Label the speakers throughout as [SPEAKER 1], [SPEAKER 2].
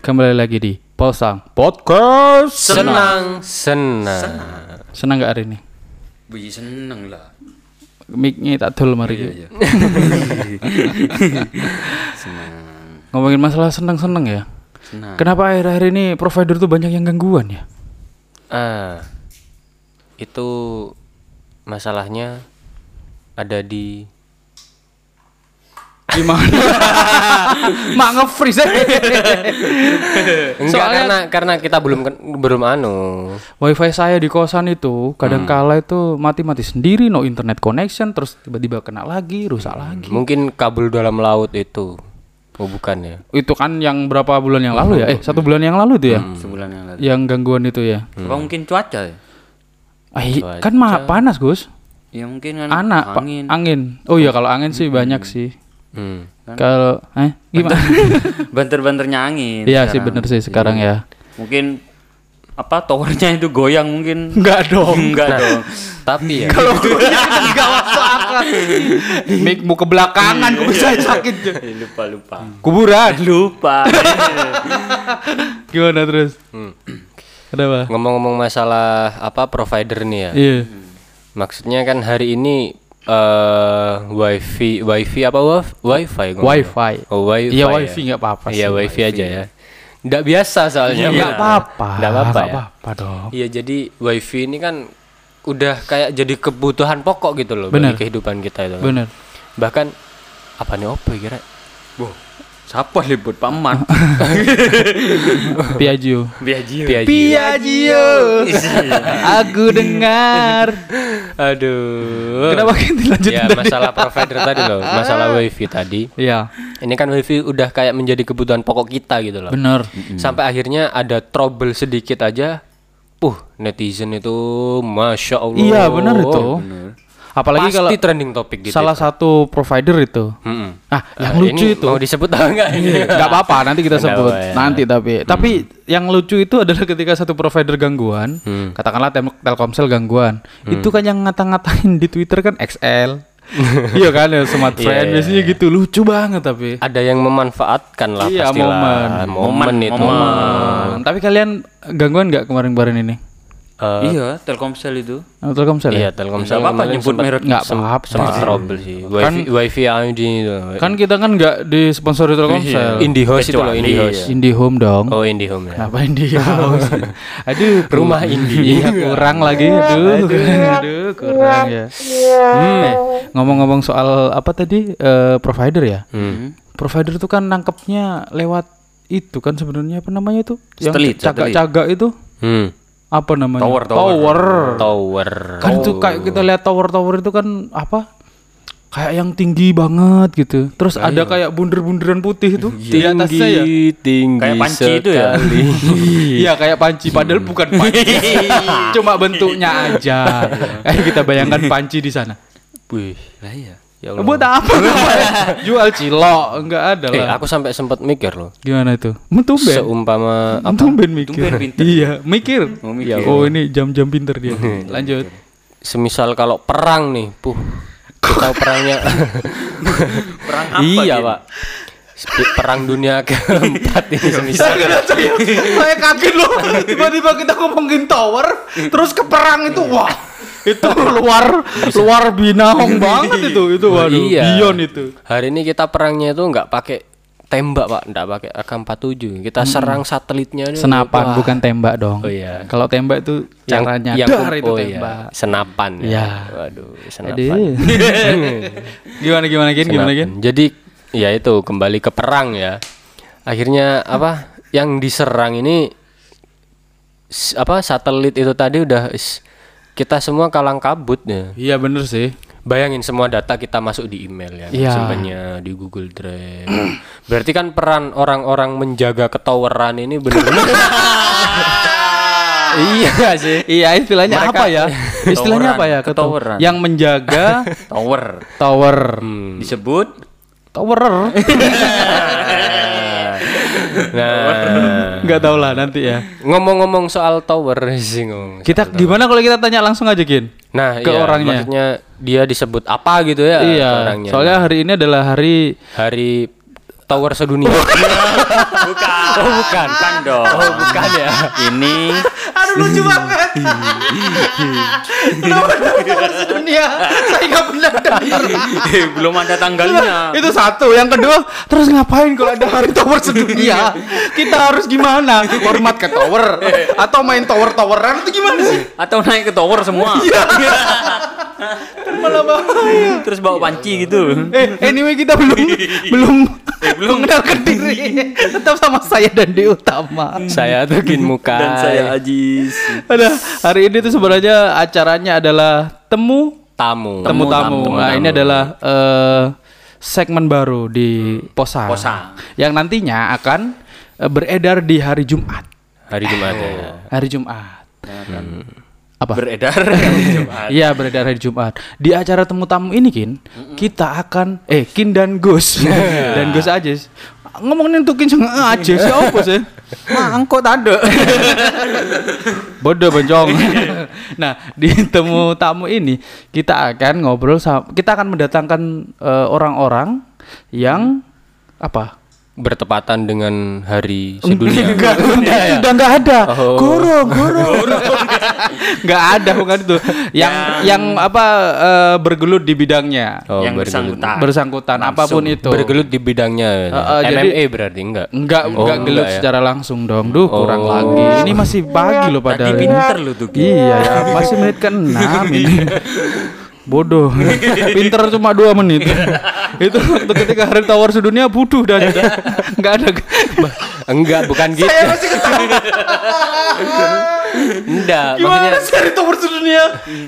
[SPEAKER 1] Kembali lagi di Posang Podcast.
[SPEAKER 2] Senang, senang.
[SPEAKER 1] Senang nggak hari ini?
[SPEAKER 3] Wih seneng lah.
[SPEAKER 1] Mic-nya tak dol mari.
[SPEAKER 3] Iya iya.
[SPEAKER 1] Ngomongin masalah senang-senang ya.
[SPEAKER 3] Senang.
[SPEAKER 1] Kenapa akhir-akhir ini provider tuh banyak yang gangguan ya?
[SPEAKER 2] Ah, itu masalahnya ada di
[SPEAKER 1] Gimana? Mak nge-freeze.
[SPEAKER 2] enggak karena karena kita belum ken- belum anu.
[SPEAKER 1] Wifi saya di kosan itu kadang
[SPEAKER 3] Hmm.
[SPEAKER 1] kala itu mati-mati sendiri, no internet connection, terus tiba-tiba kena lagi, rusak
[SPEAKER 3] Hmm.
[SPEAKER 1] lagi.
[SPEAKER 2] Mungkin kabel dalam laut itu. Oh bukan ya.
[SPEAKER 1] Itu kan yang berapa bulan yang lalu ya? Eh, satu bulan yang lalu itu ya?
[SPEAKER 3] Hmm. Sebulan yang lalu.
[SPEAKER 1] Yang gangguan itu ya.
[SPEAKER 3] Apa mungkin cuaca ya?
[SPEAKER 1] Ah, i- kan mah panas, Gus.
[SPEAKER 3] Ya mungkin kan
[SPEAKER 1] anak Pak. angin.
[SPEAKER 3] angin.
[SPEAKER 1] Oh iya kalau angin sih banyak sih.
[SPEAKER 2] Hmm.
[SPEAKER 1] Kalau eh gimana?
[SPEAKER 3] Banter-banternya angin.
[SPEAKER 1] Iya sih
[SPEAKER 3] sekarang.
[SPEAKER 1] bener sih sekarang ya.
[SPEAKER 3] Mungkin apa towernya itu goyang mungkin. Oh,
[SPEAKER 1] Enggak dong.
[SPEAKER 3] Enggak dong.
[SPEAKER 2] Tapi ya.
[SPEAKER 1] Enggak masuk akal. Iya. Mikmu ke belakangan ku bisa sakit. Jo.
[SPEAKER 3] Eh, lupa lupa.
[SPEAKER 1] Kuburan.
[SPEAKER 3] Lupa.
[SPEAKER 1] Gimana terus? Kenapa?
[SPEAKER 2] Ngomong-ngomong masalah apa provider nih ya.
[SPEAKER 1] Iya.
[SPEAKER 2] Maksudnya kan hari ini eh wifi wifi apa waf- wifi ngomong.
[SPEAKER 1] Wifi.
[SPEAKER 2] Oh wifi.
[SPEAKER 1] Iya, wifi nggak apa-apa
[SPEAKER 2] Iya
[SPEAKER 1] sih,
[SPEAKER 2] wifi aja ya. Enggak biasa soalnya.
[SPEAKER 1] Enggak Ya apa-apa.
[SPEAKER 2] Enggak apa-apa.
[SPEAKER 1] Iya. Nggak
[SPEAKER 2] ya?
[SPEAKER 1] apa-apa dong.
[SPEAKER 2] Iya jadi wifi ini kan udah kayak jadi kebutuhan pokok gitu loh
[SPEAKER 1] Bener.
[SPEAKER 2] bagi kehidupan kita itu. kan.
[SPEAKER 1] Bener.
[SPEAKER 2] Bahkan apa nih opo ya, kira?
[SPEAKER 3] Siapa libut paman?
[SPEAKER 1] Piaggio. Iya.
[SPEAKER 3] Biaji.
[SPEAKER 2] Piaggio.
[SPEAKER 1] Piaggio. Aku dengar.
[SPEAKER 2] Aduh.
[SPEAKER 1] Kenapa kita lanjut
[SPEAKER 2] Ya
[SPEAKER 1] tadi?
[SPEAKER 2] masalah provider tadi loh, masalah wifi tadi.
[SPEAKER 1] Iya.
[SPEAKER 2] Ini kan wifi udah kayak menjadi kebutuhan pokok kita gitu loh.
[SPEAKER 1] Bener.
[SPEAKER 2] Sampai akhirnya ada trouble sedikit aja. Puh, netizen itu masya Allah.
[SPEAKER 1] Iya bener itu. Apalagi
[SPEAKER 2] Oh, Pasti
[SPEAKER 1] kalau
[SPEAKER 2] trending topik gitu.
[SPEAKER 1] salah satu provider itu.
[SPEAKER 2] Mm-mm.
[SPEAKER 1] Ah, yang
[SPEAKER 2] Eh,
[SPEAKER 1] lucu
[SPEAKER 2] ini
[SPEAKER 1] itu. Iya.
[SPEAKER 2] Mau disebut apa enggak ini?
[SPEAKER 1] Enggak apa-apa, nanti kita
[SPEAKER 2] Nggak
[SPEAKER 1] sebut.
[SPEAKER 2] apa-apa ya.
[SPEAKER 1] Nanti tapi tapi yang lucu itu adalah ketika satu provider gangguan,
[SPEAKER 2] Hmm.
[SPEAKER 1] katakanlah Tel- Telkomsel gangguan. Itu kan yang ngata-ngatain di Twitter kan XL. iya kan ya smart friend
[SPEAKER 2] iya.
[SPEAKER 1] biasanya gitu lucu banget tapi.
[SPEAKER 2] ada yang memanfaatkan lah
[SPEAKER 1] Iya,
[SPEAKER 2] pastilah.
[SPEAKER 1] momen.
[SPEAKER 2] momen itu
[SPEAKER 1] Hmm, tapi kalian gangguan nggak kemarin-kemarin ini?
[SPEAKER 2] Eh,
[SPEAKER 3] Iya, Telkomsel itu.
[SPEAKER 1] Sama Telkomsel ya?
[SPEAKER 2] iya
[SPEAKER 1] Iya.
[SPEAKER 2] Telkomsel
[SPEAKER 3] apa-apa
[SPEAKER 2] kemarin
[SPEAKER 3] nyebut
[SPEAKER 2] sempat-
[SPEAKER 3] merek.
[SPEAKER 1] Nggak
[SPEAKER 2] sem-
[SPEAKER 1] apa-apa.
[SPEAKER 2] sempat trouble sih wifi wifi Audi itu
[SPEAKER 1] Kan kita kan nggak disponsori Telkomsel.
[SPEAKER 3] Iya,
[SPEAKER 2] IndiHouse itu loh IndiHouse
[SPEAKER 1] Indihome dong.
[SPEAKER 2] Iya. oh IndiHome ya
[SPEAKER 1] Kenapa Indi? aduh,
[SPEAKER 2] Rumah Indi.
[SPEAKER 1] Iya, kurang lagi, aduh, aduh, kurang ya. Eh, ngomong-ngomong soal apa tadi eh, provider ya? Provider itu kan nangkepnya lewat itu kan sebenarnya apa namanya itu?
[SPEAKER 3] Satelit,
[SPEAKER 1] Yang cagak-cagak itu
[SPEAKER 2] hmm.
[SPEAKER 1] apa namanya? Tower, tower.
[SPEAKER 2] tower
[SPEAKER 1] Kan itu kayak kita lihat tower-tower itu kan apa? Kayak yang tinggi banget gitu. Terus ada kayak bunder-bunderan putih itu di atasnya ya.
[SPEAKER 2] tinggi tinggi
[SPEAKER 3] Kayak panci itu ya?
[SPEAKER 2] sekali.
[SPEAKER 1] Iya kayak panci padahal bukan panci. Cuma bentuknya aja. Kayak kita bayangkan panci di sana.
[SPEAKER 2] Wih.
[SPEAKER 3] Lah iya.
[SPEAKER 2] ya Allah.
[SPEAKER 1] Buat apa? Jual cilok enggak ada
[SPEAKER 2] eh
[SPEAKER 1] lah.
[SPEAKER 2] aku sampai sempat mikir loh
[SPEAKER 1] Gimana itu? Mentumben.
[SPEAKER 2] seumpama
[SPEAKER 1] Mentumben mikir. Iya, mikir. Hmm.
[SPEAKER 3] Oh, mikir.
[SPEAKER 1] Oh, ini jam-jam pinter dia. Lanjut.
[SPEAKER 2] semisal kalau perang nih puh kita perangnya
[SPEAKER 3] Perang apa?
[SPEAKER 2] iya
[SPEAKER 3] Din?
[SPEAKER 2] pak Sep- perang dunia keempat ini semisal
[SPEAKER 1] saya, saya kaget loh. Tiba-tiba kita ngomongin tower, terus ke perang itu wah. Itu luar luar binahong banget itu. Itu waduh,
[SPEAKER 2] Iya.
[SPEAKER 1] beyond itu.
[SPEAKER 2] hari ini kita perangnya itu nggak pakai tembak pak nggak pakai AK47 kita serang satelitnya ini.
[SPEAKER 1] Senapan
[SPEAKER 2] Wah,
[SPEAKER 1] bukan tembak dong.
[SPEAKER 2] Iya, gitu. Oh, iya.
[SPEAKER 1] Kalau tembak itu
[SPEAKER 2] yang
[SPEAKER 1] caranya
[SPEAKER 2] yang
[SPEAKER 1] dar itu
[SPEAKER 2] oh, iya.
[SPEAKER 1] tembak.
[SPEAKER 2] senapan ya.
[SPEAKER 1] Iya.
[SPEAKER 2] waduh
[SPEAKER 1] Aduh.
[SPEAKER 2] senapan
[SPEAKER 1] gimana gimana Gen gimana Gen?
[SPEAKER 2] Senapan. jadi ya itu kembali ke perang ya akhirnya apa yang diserang ini s- apa satelit itu tadi udah is- kita semua kalang kabut ya
[SPEAKER 1] Iya bener sih.
[SPEAKER 2] Bayangin semua data kita masuk di email ya,
[SPEAKER 1] Iya.
[SPEAKER 2] simpennya di Google Drive. Berarti kan peran orang-orang menjaga ketoweran ini benar-benar
[SPEAKER 1] iya sih. Iya istilahnya
[SPEAKER 3] Mereka-
[SPEAKER 1] apa ya? Istilahnya apa ya? Ketu-
[SPEAKER 3] Ketoweran.
[SPEAKER 1] Yang menjaga
[SPEAKER 3] Tower.
[SPEAKER 1] tower.
[SPEAKER 3] Hmm. Disebut
[SPEAKER 1] Towerer.
[SPEAKER 2] Nah,
[SPEAKER 1] Enggak tahu lah nanti ya.
[SPEAKER 2] ngomong-ngomong soal tower sih ngomong.
[SPEAKER 1] Kita gimana kalau kita tanya langsung aja Gen?
[SPEAKER 2] Nah,
[SPEAKER 1] Ke
[SPEAKER 2] iya,
[SPEAKER 1] orangnya.
[SPEAKER 2] maksudnya dia disebut apa gitu ya
[SPEAKER 1] iya.
[SPEAKER 2] orangnya.
[SPEAKER 1] Soalnya hari ini adalah hari
[SPEAKER 2] hari tower sedunia.
[SPEAKER 3] Bukan. Oh, bukan. Bukan dong. Oh, bukan ya. Ini
[SPEAKER 1] Aduh lucu banget. Kenapa nomor dunia? Saya nggak pernah dengar.
[SPEAKER 3] eh, belum ada tanggalnya.
[SPEAKER 1] Itu satu. Yang kedua, terus ngapain kalau ada hari tower sedunia? Kita harus gimana? Hormat ke tower atau main tower-toweran itu gimana sih?
[SPEAKER 3] Atau naik ke tower semua.
[SPEAKER 1] Kan Malah bahaya.
[SPEAKER 3] Terus bawa panci gitu.
[SPEAKER 1] Eh, anyway kita belum belum Eh, belum mengenalkan diri. Tetap sama saya dan Dewi Utama.
[SPEAKER 2] saya tukin muka.
[SPEAKER 3] Dan saya Ajis.
[SPEAKER 1] Ada hari ini tuh sebenarnya acaranya adalah temu
[SPEAKER 2] tamu.
[SPEAKER 1] temu-tamu. Nah, ini adalah eh, segmen baru di Posa.
[SPEAKER 3] Posa.
[SPEAKER 1] Yang nantinya akan eh, beredar di hari Jumat.
[SPEAKER 2] Hari Jumat ya.
[SPEAKER 1] Hari Jumat. Apa?
[SPEAKER 3] Beredar hari Jumat.
[SPEAKER 1] Iya, beredar hari Jumat. Di acara temu-tamu ini, Kin, kita akan eh Kin dan Gus. dan Gus aja. Ngomongin tuh Kin sama aja sih apa sih? Mah angkot ada. Bodoh bencong. nah, di temu tamu ini kita akan ngobrol sama kita akan mendatangkan eh, orang-orang yang apa?
[SPEAKER 2] Bertepatan dengan hari sedunia.
[SPEAKER 1] Enggak, enggak, udah enggak ada.
[SPEAKER 2] Oh.
[SPEAKER 1] Goro, goro. Enggak ada bukan itu. Yang yang apa eh, bergelut di bidangnya.
[SPEAKER 2] Oh,
[SPEAKER 3] yang
[SPEAKER 2] bergelut.
[SPEAKER 1] Ah,
[SPEAKER 3] bersangkutan.
[SPEAKER 1] Bersangkutan apapun itu.
[SPEAKER 2] Bergelut di bidangnya. ya.
[SPEAKER 1] Eh, eh, jadi-
[SPEAKER 2] MMA berarti enggak?
[SPEAKER 1] Enggak,
[SPEAKER 2] Oh,
[SPEAKER 1] enggak gelut
[SPEAKER 2] ya.
[SPEAKER 1] secara langsung dong. Duh, kurang
[SPEAKER 2] Oh.
[SPEAKER 1] lagi. Ini masih pagi loh
[SPEAKER 3] Tadi
[SPEAKER 1] padahal. ini.
[SPEAKER 3] pinter lu tuh. Ki.
[SPEAKER 1] Iya, ya, masih menit ke-6 ini. Bodoh. Pinter cuma dua menit. itu waktu ketika hari tawar sedunia butuh dan enggak ada.
[SPEAKER 2] Enggak, bukan gitu.
[SPEAKER 1] Saya masih ketawa.
[SPEAKER 2] Enggak,
[SPEAKER 1] Gimana
[SPEAKER 2] maksudnya
[SPEAKER 1] sih dari tower sedunia?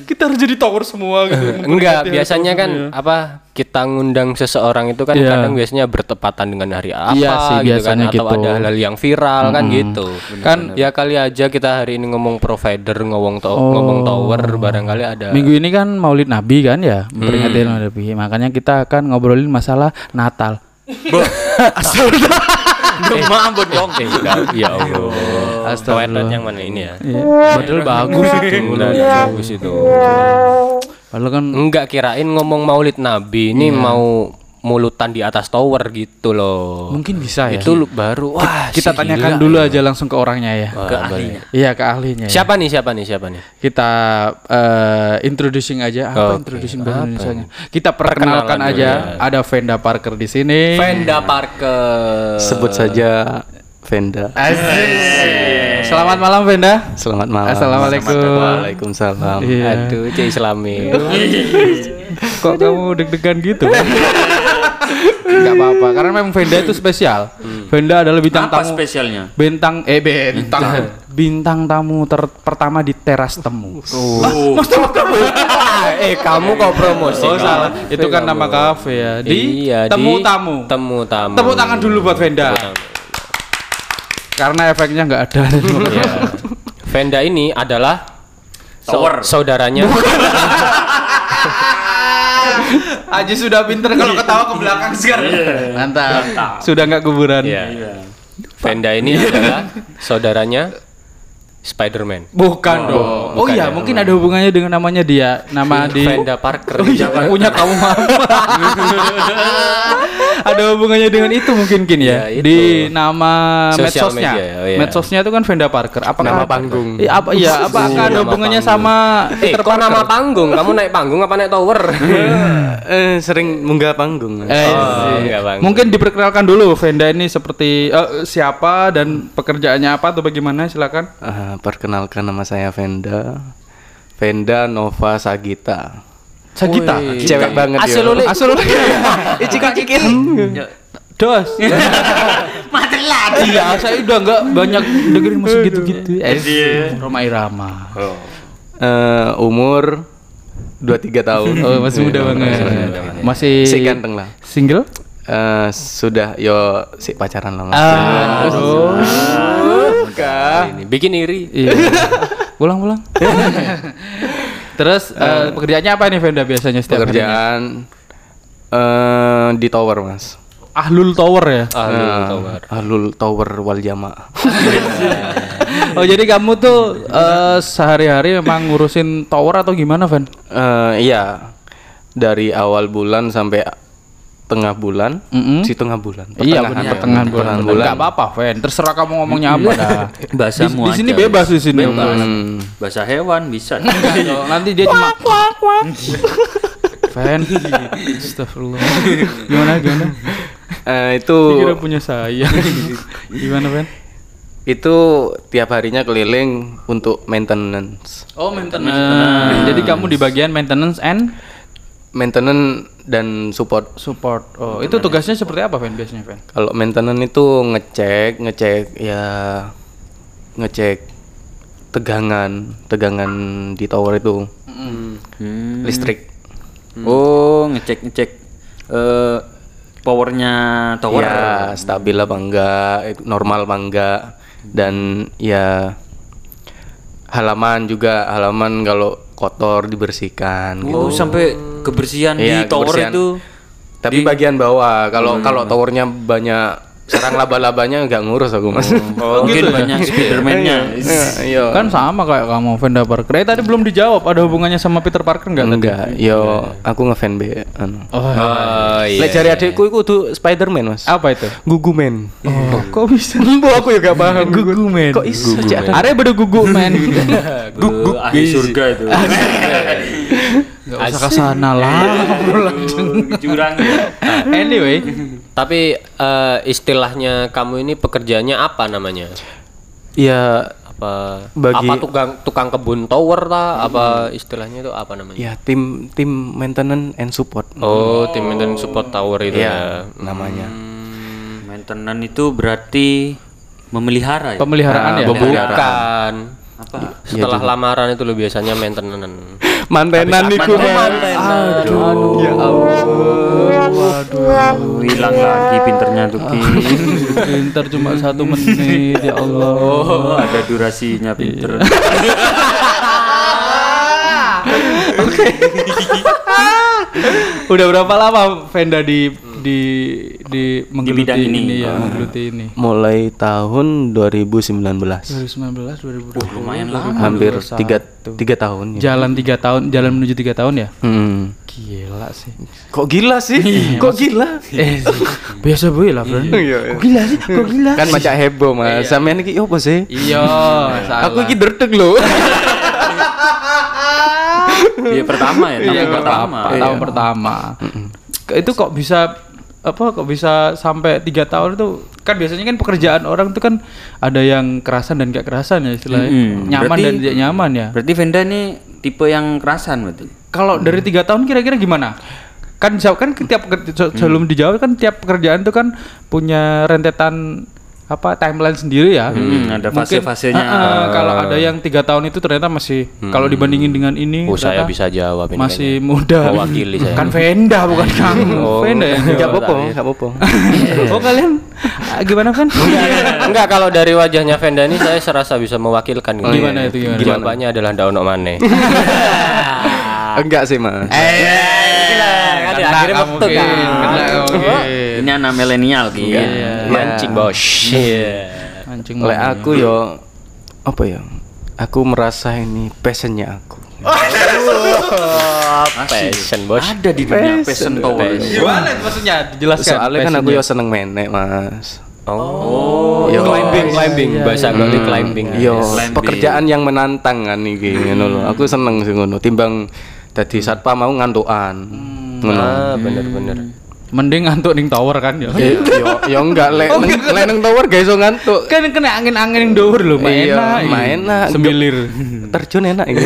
[SPEAKER 1] Kita harus jadi tower semua gitu.
[SPEAKER 2] enggak biasanya kan apa kita ngundang seseorang itu kan
[SPEAKER 1] Iya.
[SPEAKER 2] kadang biasanya bertepatan dengan hari apa
[SPEAKER 1] Iya sih,
[SPEAKER 2] gitu
[SPEAKER 1] biasanya
[SPEAKER 2] kan atau
[SPEAKER 1] gitu.
[SPEAKER 2] ada hal yang viral kan gitu. Kan ya kali aja kita hari ini ngomong provider, ngomong to-
[SPEAKER 1] Oh.
[SPEAKER 2] ngomong tower barangkali ada
[SPEAKER 1] Minggu ini kan Maulid Nabi kan ya, memperingati Maulid Nabi. Makanya kita akan ngobrolin masalah Natal.
[SPEAKER 3] Demam bencong.
[SPEAKER 2] Eh, enggak, ya Allah. Provider yang mana ini ya?
[SPEAKER 1] Padahal Iya. bagus itu. Iya.
[SPEAKER 2] Udah bagus itu.
[SPEAKER 1] Padahal kan
[SPEAKER 2] Enggak kirain ngomong Maulid Nabi
[SPEAKER 1] Iya.
[SPEAKER 2] ini mau mulutan di atas tower gitu loh.
[SPEAKER 1] mungkin bisa ya.
[SPEAKER 2] Itu lu- baru wah
[SPEAKER 1] kita
[SPEAKER 2] sih,
[SPEAKER 1] tanyakan
[SPEAKER 2] gila.
[SPEAKER 1] dulu aja langsung ke orangnya ya.
[SPEAKER 2] Wah, boleh.
[SPEAKER 1] Iya ke ahlinya. ya.
[SPEAKER 2] Siapa nih? Siapa nih? Siapa nih?
[SPEAKER 1] Kita eh, introducing aja apa ya. introducing bahasa Indonesianya. Kita perkenalkan
[SPEAKER 2] Perkenalan
[SPEAKER 1] aja
[SPEAKER 2] dulu,
[SPEAKER 1] ada Venda Parker di sini.
[SPEAKER 2] Venda Parker.
[SPEAKER 4] Sebut saja Venda.
[SPEAKER 1] Asik. Selamat malam Venda.
[SPEAKER 4] Selamat malam.
[SPEAKER 1] Assalamualaikum. Iya.
[SPEAKER 4] Waalaikumsalam.
[SPEAKER 2] Iya. Aduh, C Islami.
[SPEAKER 1] Kok kamu deg-degan gitu? Gak apa-apa, karena memang Venda itu spesial. Venda adalah bintang
[SPEAKER 3] Apa
[SPEAKER 1] tamu
[SPEAKER 3] spesialnya?
[SPEAKER 1] bintang eh bintang bintang tamu ter- pertama di teras temu.
[SPEAKER 3] Oh.
[SPEAKER 2] eh, kamu kok promosi?
[SPEAKER 1] Oh
[SPEAKER 2] Kak?
[SPEAKER 1] salah, itu kan nama kafe ya. Di
[SPEAKER 2] Iya, di
[SPEAKER 1] temu Iya. tamu.
[SPEAKER 2] Temu tamu.
[SPEAKER 1] Tepuk tangan dulu buat Venda. Karena efeknya nggak ada.
[SPEAKER 2] Iya. Venda ini adalah
[SPEAKER 3] Tower.
[SPEAKER 2] saudaranya.
[SPEAKER 1] Aji sudah pinter kalau ketawa ke belakang sekarang. Iya. Mantap. Sudah nggak kuburan.
[SPEAKER 2] Iya. Venda ini
[SPEAKER 1] Iya.
[SPEAKER 2] adalah saudaranya Spider-Man.
[SPEAKER 1] Bukan dong. Oh
[SPEAKER 2] ya,
[SPEAKER 1] iya, mungkin ada hubungannya dengan namanya dia.
[SPEAKER 2] Iya,
[SPEAKER 1] Nama di
[SPEAKER 2] Venda Parker.
[SPEAKER 1] Oh iya, punya kamu mama. Ada hubungannya dengan itu mungkin kin ya.
[SPEAKER 2] Ya, itu.
[SPEAKER 1] Di nama
[SPEAKER 2] Sosial
[SPEAKER 1] medsosnya.
[SPEAKER 2] media, oh iya.
[SPEAKER 1] Medsosnya itu kan Venda Parker. Apakah
[SPEAKER 4] Nama panggung.
[SPEAKER 1] Iya, apa iya, apakah ada
[SPEAKER 2] nama
[SPEAKER 1] hubungannya
[SPEAKER 2] panggung.
[SPEAKER 1] sama
[SPEAKER 2] Eh, kok nama panggung? Kamu naik panggung apa naik tower?
[SPEAKER 1] Iya.
[SPEAKER 4] Eh, sering munggah panggung.
[SPEAKER 1] Eh,
[SPEAKER 2] Oh,
[SPEAKER 1] iya.
[SPEAKER 2] enggak, Bang.
[SPEAKER 1] mungkin diperkenalkan dulu Venda ini seperti eh, siapa dan pekerjaannya apa atau bagaimana silakan.
[SPEAKER 4] Ah, perkenalkan nama saya Venda. Venda Nova Sagita.
[SPEAKER 1] Sagita.
[SPEAKER 4] Cewek banget ya.
[SPEAKER 2] Asal oleh
[SPEAKER 1] Asal
[SPEAKER 3] Hmm.
[SPEAKER 1] Dos.
[SPEAKER 3] Mati lagi.
[SPEAKER 1] Iya, saya udah nggak banyak dengerin musik gitu-gitu. Eh, Roma Irama.
[SPEAKER 4] Eh, umur 23 tahun.
[SPEAKER 1] Oh, masih muda banget. Masih
[SPEAKER 4] Si ganteng lah.
[SPEAKER 1] Single?
[SPEAKER 4] Eh, sudah yo si pacaran lama.
[SPEAKER 1] Ah. Aduh.
[SPEAKER 2] ini bikin iri.
[SPEAKER 1] Iya. Pulang, pulang. Terus eh, pekerjaannya apa nih Venda biasanya setiap harinya?
[SPEAKER 4] Pekerjaan eh di tower, Mas.
[SPEAKER 1] Ahlul Tower ya.
[SPEAKER 2] Ahlul
[SPEAKER 4] Eh,
[SPEAKER 2] Tower.
[SPEAKER 4] Ahlul Tower Wal Jamaah.
[SPEAKER 1] Oh, jadi kamu tuh eh, sehari-hari memang ngurusin tower atau gimana, Van?
[SPEAKER 4] Eh, iya dari awal bulan sampai tengah bulan,
[SPEAKER 1] Mm-mm.
[SPEAKER 4] si tengah bulan.
[SPEAKER 1] Iya
[SPEAKER 4] pertengahan.
[SPEAKER 1] benar pertengahan bulan. Iya.
[SPEAKER 4] Pertengahan
[SPEAKER 1] Enggak apa-apa, Ven. Terserah kamu ngomongnya apa dah.
[SPEAKER 3] Bahasa
[SPEAKER 1] Di- di sini bebas di sini.
[SPEAKER 4] Hmm.
[SPEAKER 3] Bahasa hewan bisa.
[SPEAKER 1] Enggak dong, nanti dia cuma Ven. Astagfirullah. Gimana gimana?
[SPEAKER 4] Eh, itu
[SPEAKER 1] Kira punya saya. gimana, Ven?
[SPEAKER 4] itu tiap harinya keliling untuk maintenance.
[SPEAKER 1] Oh, maintenance. Jadi kamu di bagian maintenance and
[SPEAKER 4] Maintenance dan support
[SPEAKER 1] support. Oh, itu tugasnya seperti apa, Ven? Biasanya, Ven?
[SPEAKER 4] Kalau maintenance itu ngecek, ngecek ya ngecek tegangan, tegangan di tower itu. Listrik.
[SPEAKER 3] Hmm. Oh, ngecek-ngecek eh powernya tower.
[SPEAKER 4] Ya, stabil apa enggak, ik- normal apa enggak dan ya halaman juga, halaman kalau kotor dibersihkan gitu.
[SPEAKER 3] Oh, sampai kebersihan
[SPEAKER 4] Iya,
[SPEAKER 3] di tower
[SPEAKER 4] kebersihan.
[SPEAKER 3] itu.
[SPEAKER 4] Tapi bagian bawah,
[SPEAKER 1] Hmm.
[SPEAKER 4] kalau kalau towernya banyak sarang laba-labanya nggak ngurus aku, Mas.
[SPEAKER 1] Oh,
[SPEAKER 3] mungkin banyak Spiderman-nya.
[SPEAKER 4] Iya.
[SPEAKER 1] Kan sama kayak kamu, Venda Parker. Eh, tadi belum dijawab. Ada hubungannya sama Peter Parker nggak tadi?
[SPEAKER 4] Enggak, yo aku ngefan be anu.
[SPEAKER 1] Oh, iya,
[SPEAKER 2] Oh
[SPEAKER 4] Lek jari adikku iku kudu Spider-Man, Mas.
[SPEAKER 1] apa itu?
[SPEAKER 4] Gugumen.
[SPEAKER 1] Oh, kok bisa?
[SPEAKER 4] Bu aku juga paham.
[SPEAKER 1] Gugu men.
[SPEAKER 4] Kok iso Cik, ada?
[SPEAKER 1] Are beda gugu men.
[SPEAKER 3] Guk guk ahli surga itu.
[SPEAKER 1] Gak usah kesana lah.
[SPEAKER 3] Aduh, Jurang. ya.
[SPEAKER 1] Ah, Anyway,
[SPEAKER 2] Hmm. Tapi eh, istilahnya kamu ini pekerjaannya apa namanya?
[SPEAKER 4] Ya
[SPEAKER 2] Apa
[SPEAKER 4] Bagi- Hmm.
[SPEAKER 2] apa tukang tukang kebun tower lah apa istilahnya itu apa namanya?
[SPEAKER 4] ya tim tim maintenance and support.
[SPEAKER 2] Oh, tim maintenance support tower itu ya.
[SPEAKER 4] Iya. namanya.
[SPEAKER 3] Hmm, Maintenance itu berarti memelihara ya.
[SPEAKER 1] pemeliharaan ya.
[SPEAKER 2] Bukan. Apa?
[SPEAKER 4] Iya,
[SPEAKER 2] Setelah lamaran itu lo biasanya maintenance.
[SPEAKER 4] Mantenan niku, Mas. Aduh. Ya
[SPEAKER 3] Oh, hilang lagi pinternya tuh Ki.
[SPEAKER 1] Pinter cuma satu menit ya Allah.
[SPEAKER 3] Oh, ada durasinya pinter.
[SPEAKER 1] Udah berapa lama Venda di di di menggeluti
[SPEAKER 3] bidang ini. Ah.
[SPEAKER 1] ya, menggeluti ini.
[SPEAKER 4] Mulai tahun 2019.
[SPEAKER 1] 2019 2020.
[SPEAKER 3] Lumayan lah.
[SPEAKER 4] Hampir tiga tiga tahun ya.
[SPEAKER 1] Jalan tiga tahun, jalan menuju tiga tahun ya.
[SPEAKER 4] Hmm. Iya,
[SPEAKER 1] Gila sih.
[SPEAKER 4] Kok gila sih? Kok gila?
[SPEAKER 1] Eh, biasa gue lah, Bro.
[SPEAKER 4] Iya.
[SPEAKER 1] Kok gila sih? Kok gila?
[SPEAKER 4] Kan macam heboh, Mas. Sampean iki opo sih?
[SPEAKER 1] Iya, salah.
[SPEAKER 4] Aku iki derdeg lho.
[SPEAKER 3] Iya pertama ya, tahun pertama. Iya.
[SPEAKER 1] pertama, tahun pertama. Ke- Itu kok bisa apa kok bisa sampai tiga tahun itu kan biasanya kan pekerjaan orang itu kan ada yang kerasan dan gak kerasan ya istilahnya
[SPEAKER 3] Mm-mm.
[SPEAKER 1] nyaman
[SPEAKER 3] Berarti-
[SPEAKER 1] dan tidak nyaman ya
[SPEAKER 3] Berarti Venda nih tipe yang kerasan berarti.
[SPEAKER 1] kalau dari tiga tahun kira-kira gimana kan bisa- kan tiap pekerja- se- sebelum dijawab kan tiap pekerjaan itu kan punya rentetan apa timeline sendiri ya
[SPEAKER 3] Hmm, ada
[SPEAKER 1] Mungkin-
[SPEAKER 3] fase-fasenya.
[SPEAKER 1] Ah, ah, kalau ada yang tiga tahun itu ternyata masih kalau dibandingin dengan ini
[SPEAKER 2] Oh, saya
[SPEAKER 1] ternyata-
[SPEAKER 2] bisa jawab ini.
[SPEAKER 1] masih
[SPEAKER 2] kayaknya.
[SPEAKER 1] muda.
[SPEAKER 2] Mewakili saya. Oh, iya,
[SPEAKER 1] Kan Venda bukan kamu. Venda ya.
[SPEAKER 4] Enggak apa-apa, enggak apa-apa.
[SPEAKER 1] oh kalian ah, gimana kan?
[SPEAKER 2] Enggak kalau dari wajahnya Venda ini saya serasa bisa mewakilkan
[SPEAKER 1] Oh,
[SPEAKER 2] gitu.
[SPEAKER 1] Gimana itu, gimana?
[SPEAKER 2] Jawabannya adalah ndak ono maneh.
[SPEAKER 4] Enggak sih, Mas.
[SPEAKER 1] Iya,
[SPEAKER 2] Kan ya, akhirnya metu kan.
[SPEAKER 3] Ini anak milenial Ki.
[SPEAKER 2] Mancing, Bos.
[SPEAKER 1] Iya. Anjing
[SPEAKER 4] Oleh aku yo apa ya? Aku merasa ini passionnya aku.
[SPEAKER 2] Passion, Bos.
[SPEAKER 3] Ada di dunia
[SPEAKER 4] Iya.
[SPEAKER 3] passion tower.
[SPEAKER 1] Gimana itu maksudnya? Dijelaskan.
[SPEAKER 4] Soalnya kan aku yo seneng menek, Mas.
[SPEAKER 2] Oh, Iya, climbing, climbing, bahasa Bali climbing. Iya.
[SPEAKER 4] Yo
[SPEAKER 3] Climbing.
[SPEAKER 4] pekerjaan yang menantang kan iki ngono lho. Aku seneng sih ngono timbang dadi satpam mau ngantukan. Ngono.
[SPEAKER 2] Ah, bener-bener.
[SPEAKER 1] Mending ngantuk ning tower kan ya.
[SPEAKER 4] Eh, Yo yo Oh, enggak lek neng- lek neng tower gak iso ngantuk.
[SPEAKER 1] Kan kena angin-angin yang dour loh, main
[SPEAKER 4] Iya,
[SPEAKER 1] enak.
[SPEAKER 4] main enak.
[SPEAKER 1] Semilir.
[SPEAKER 4] Terjun enak iki.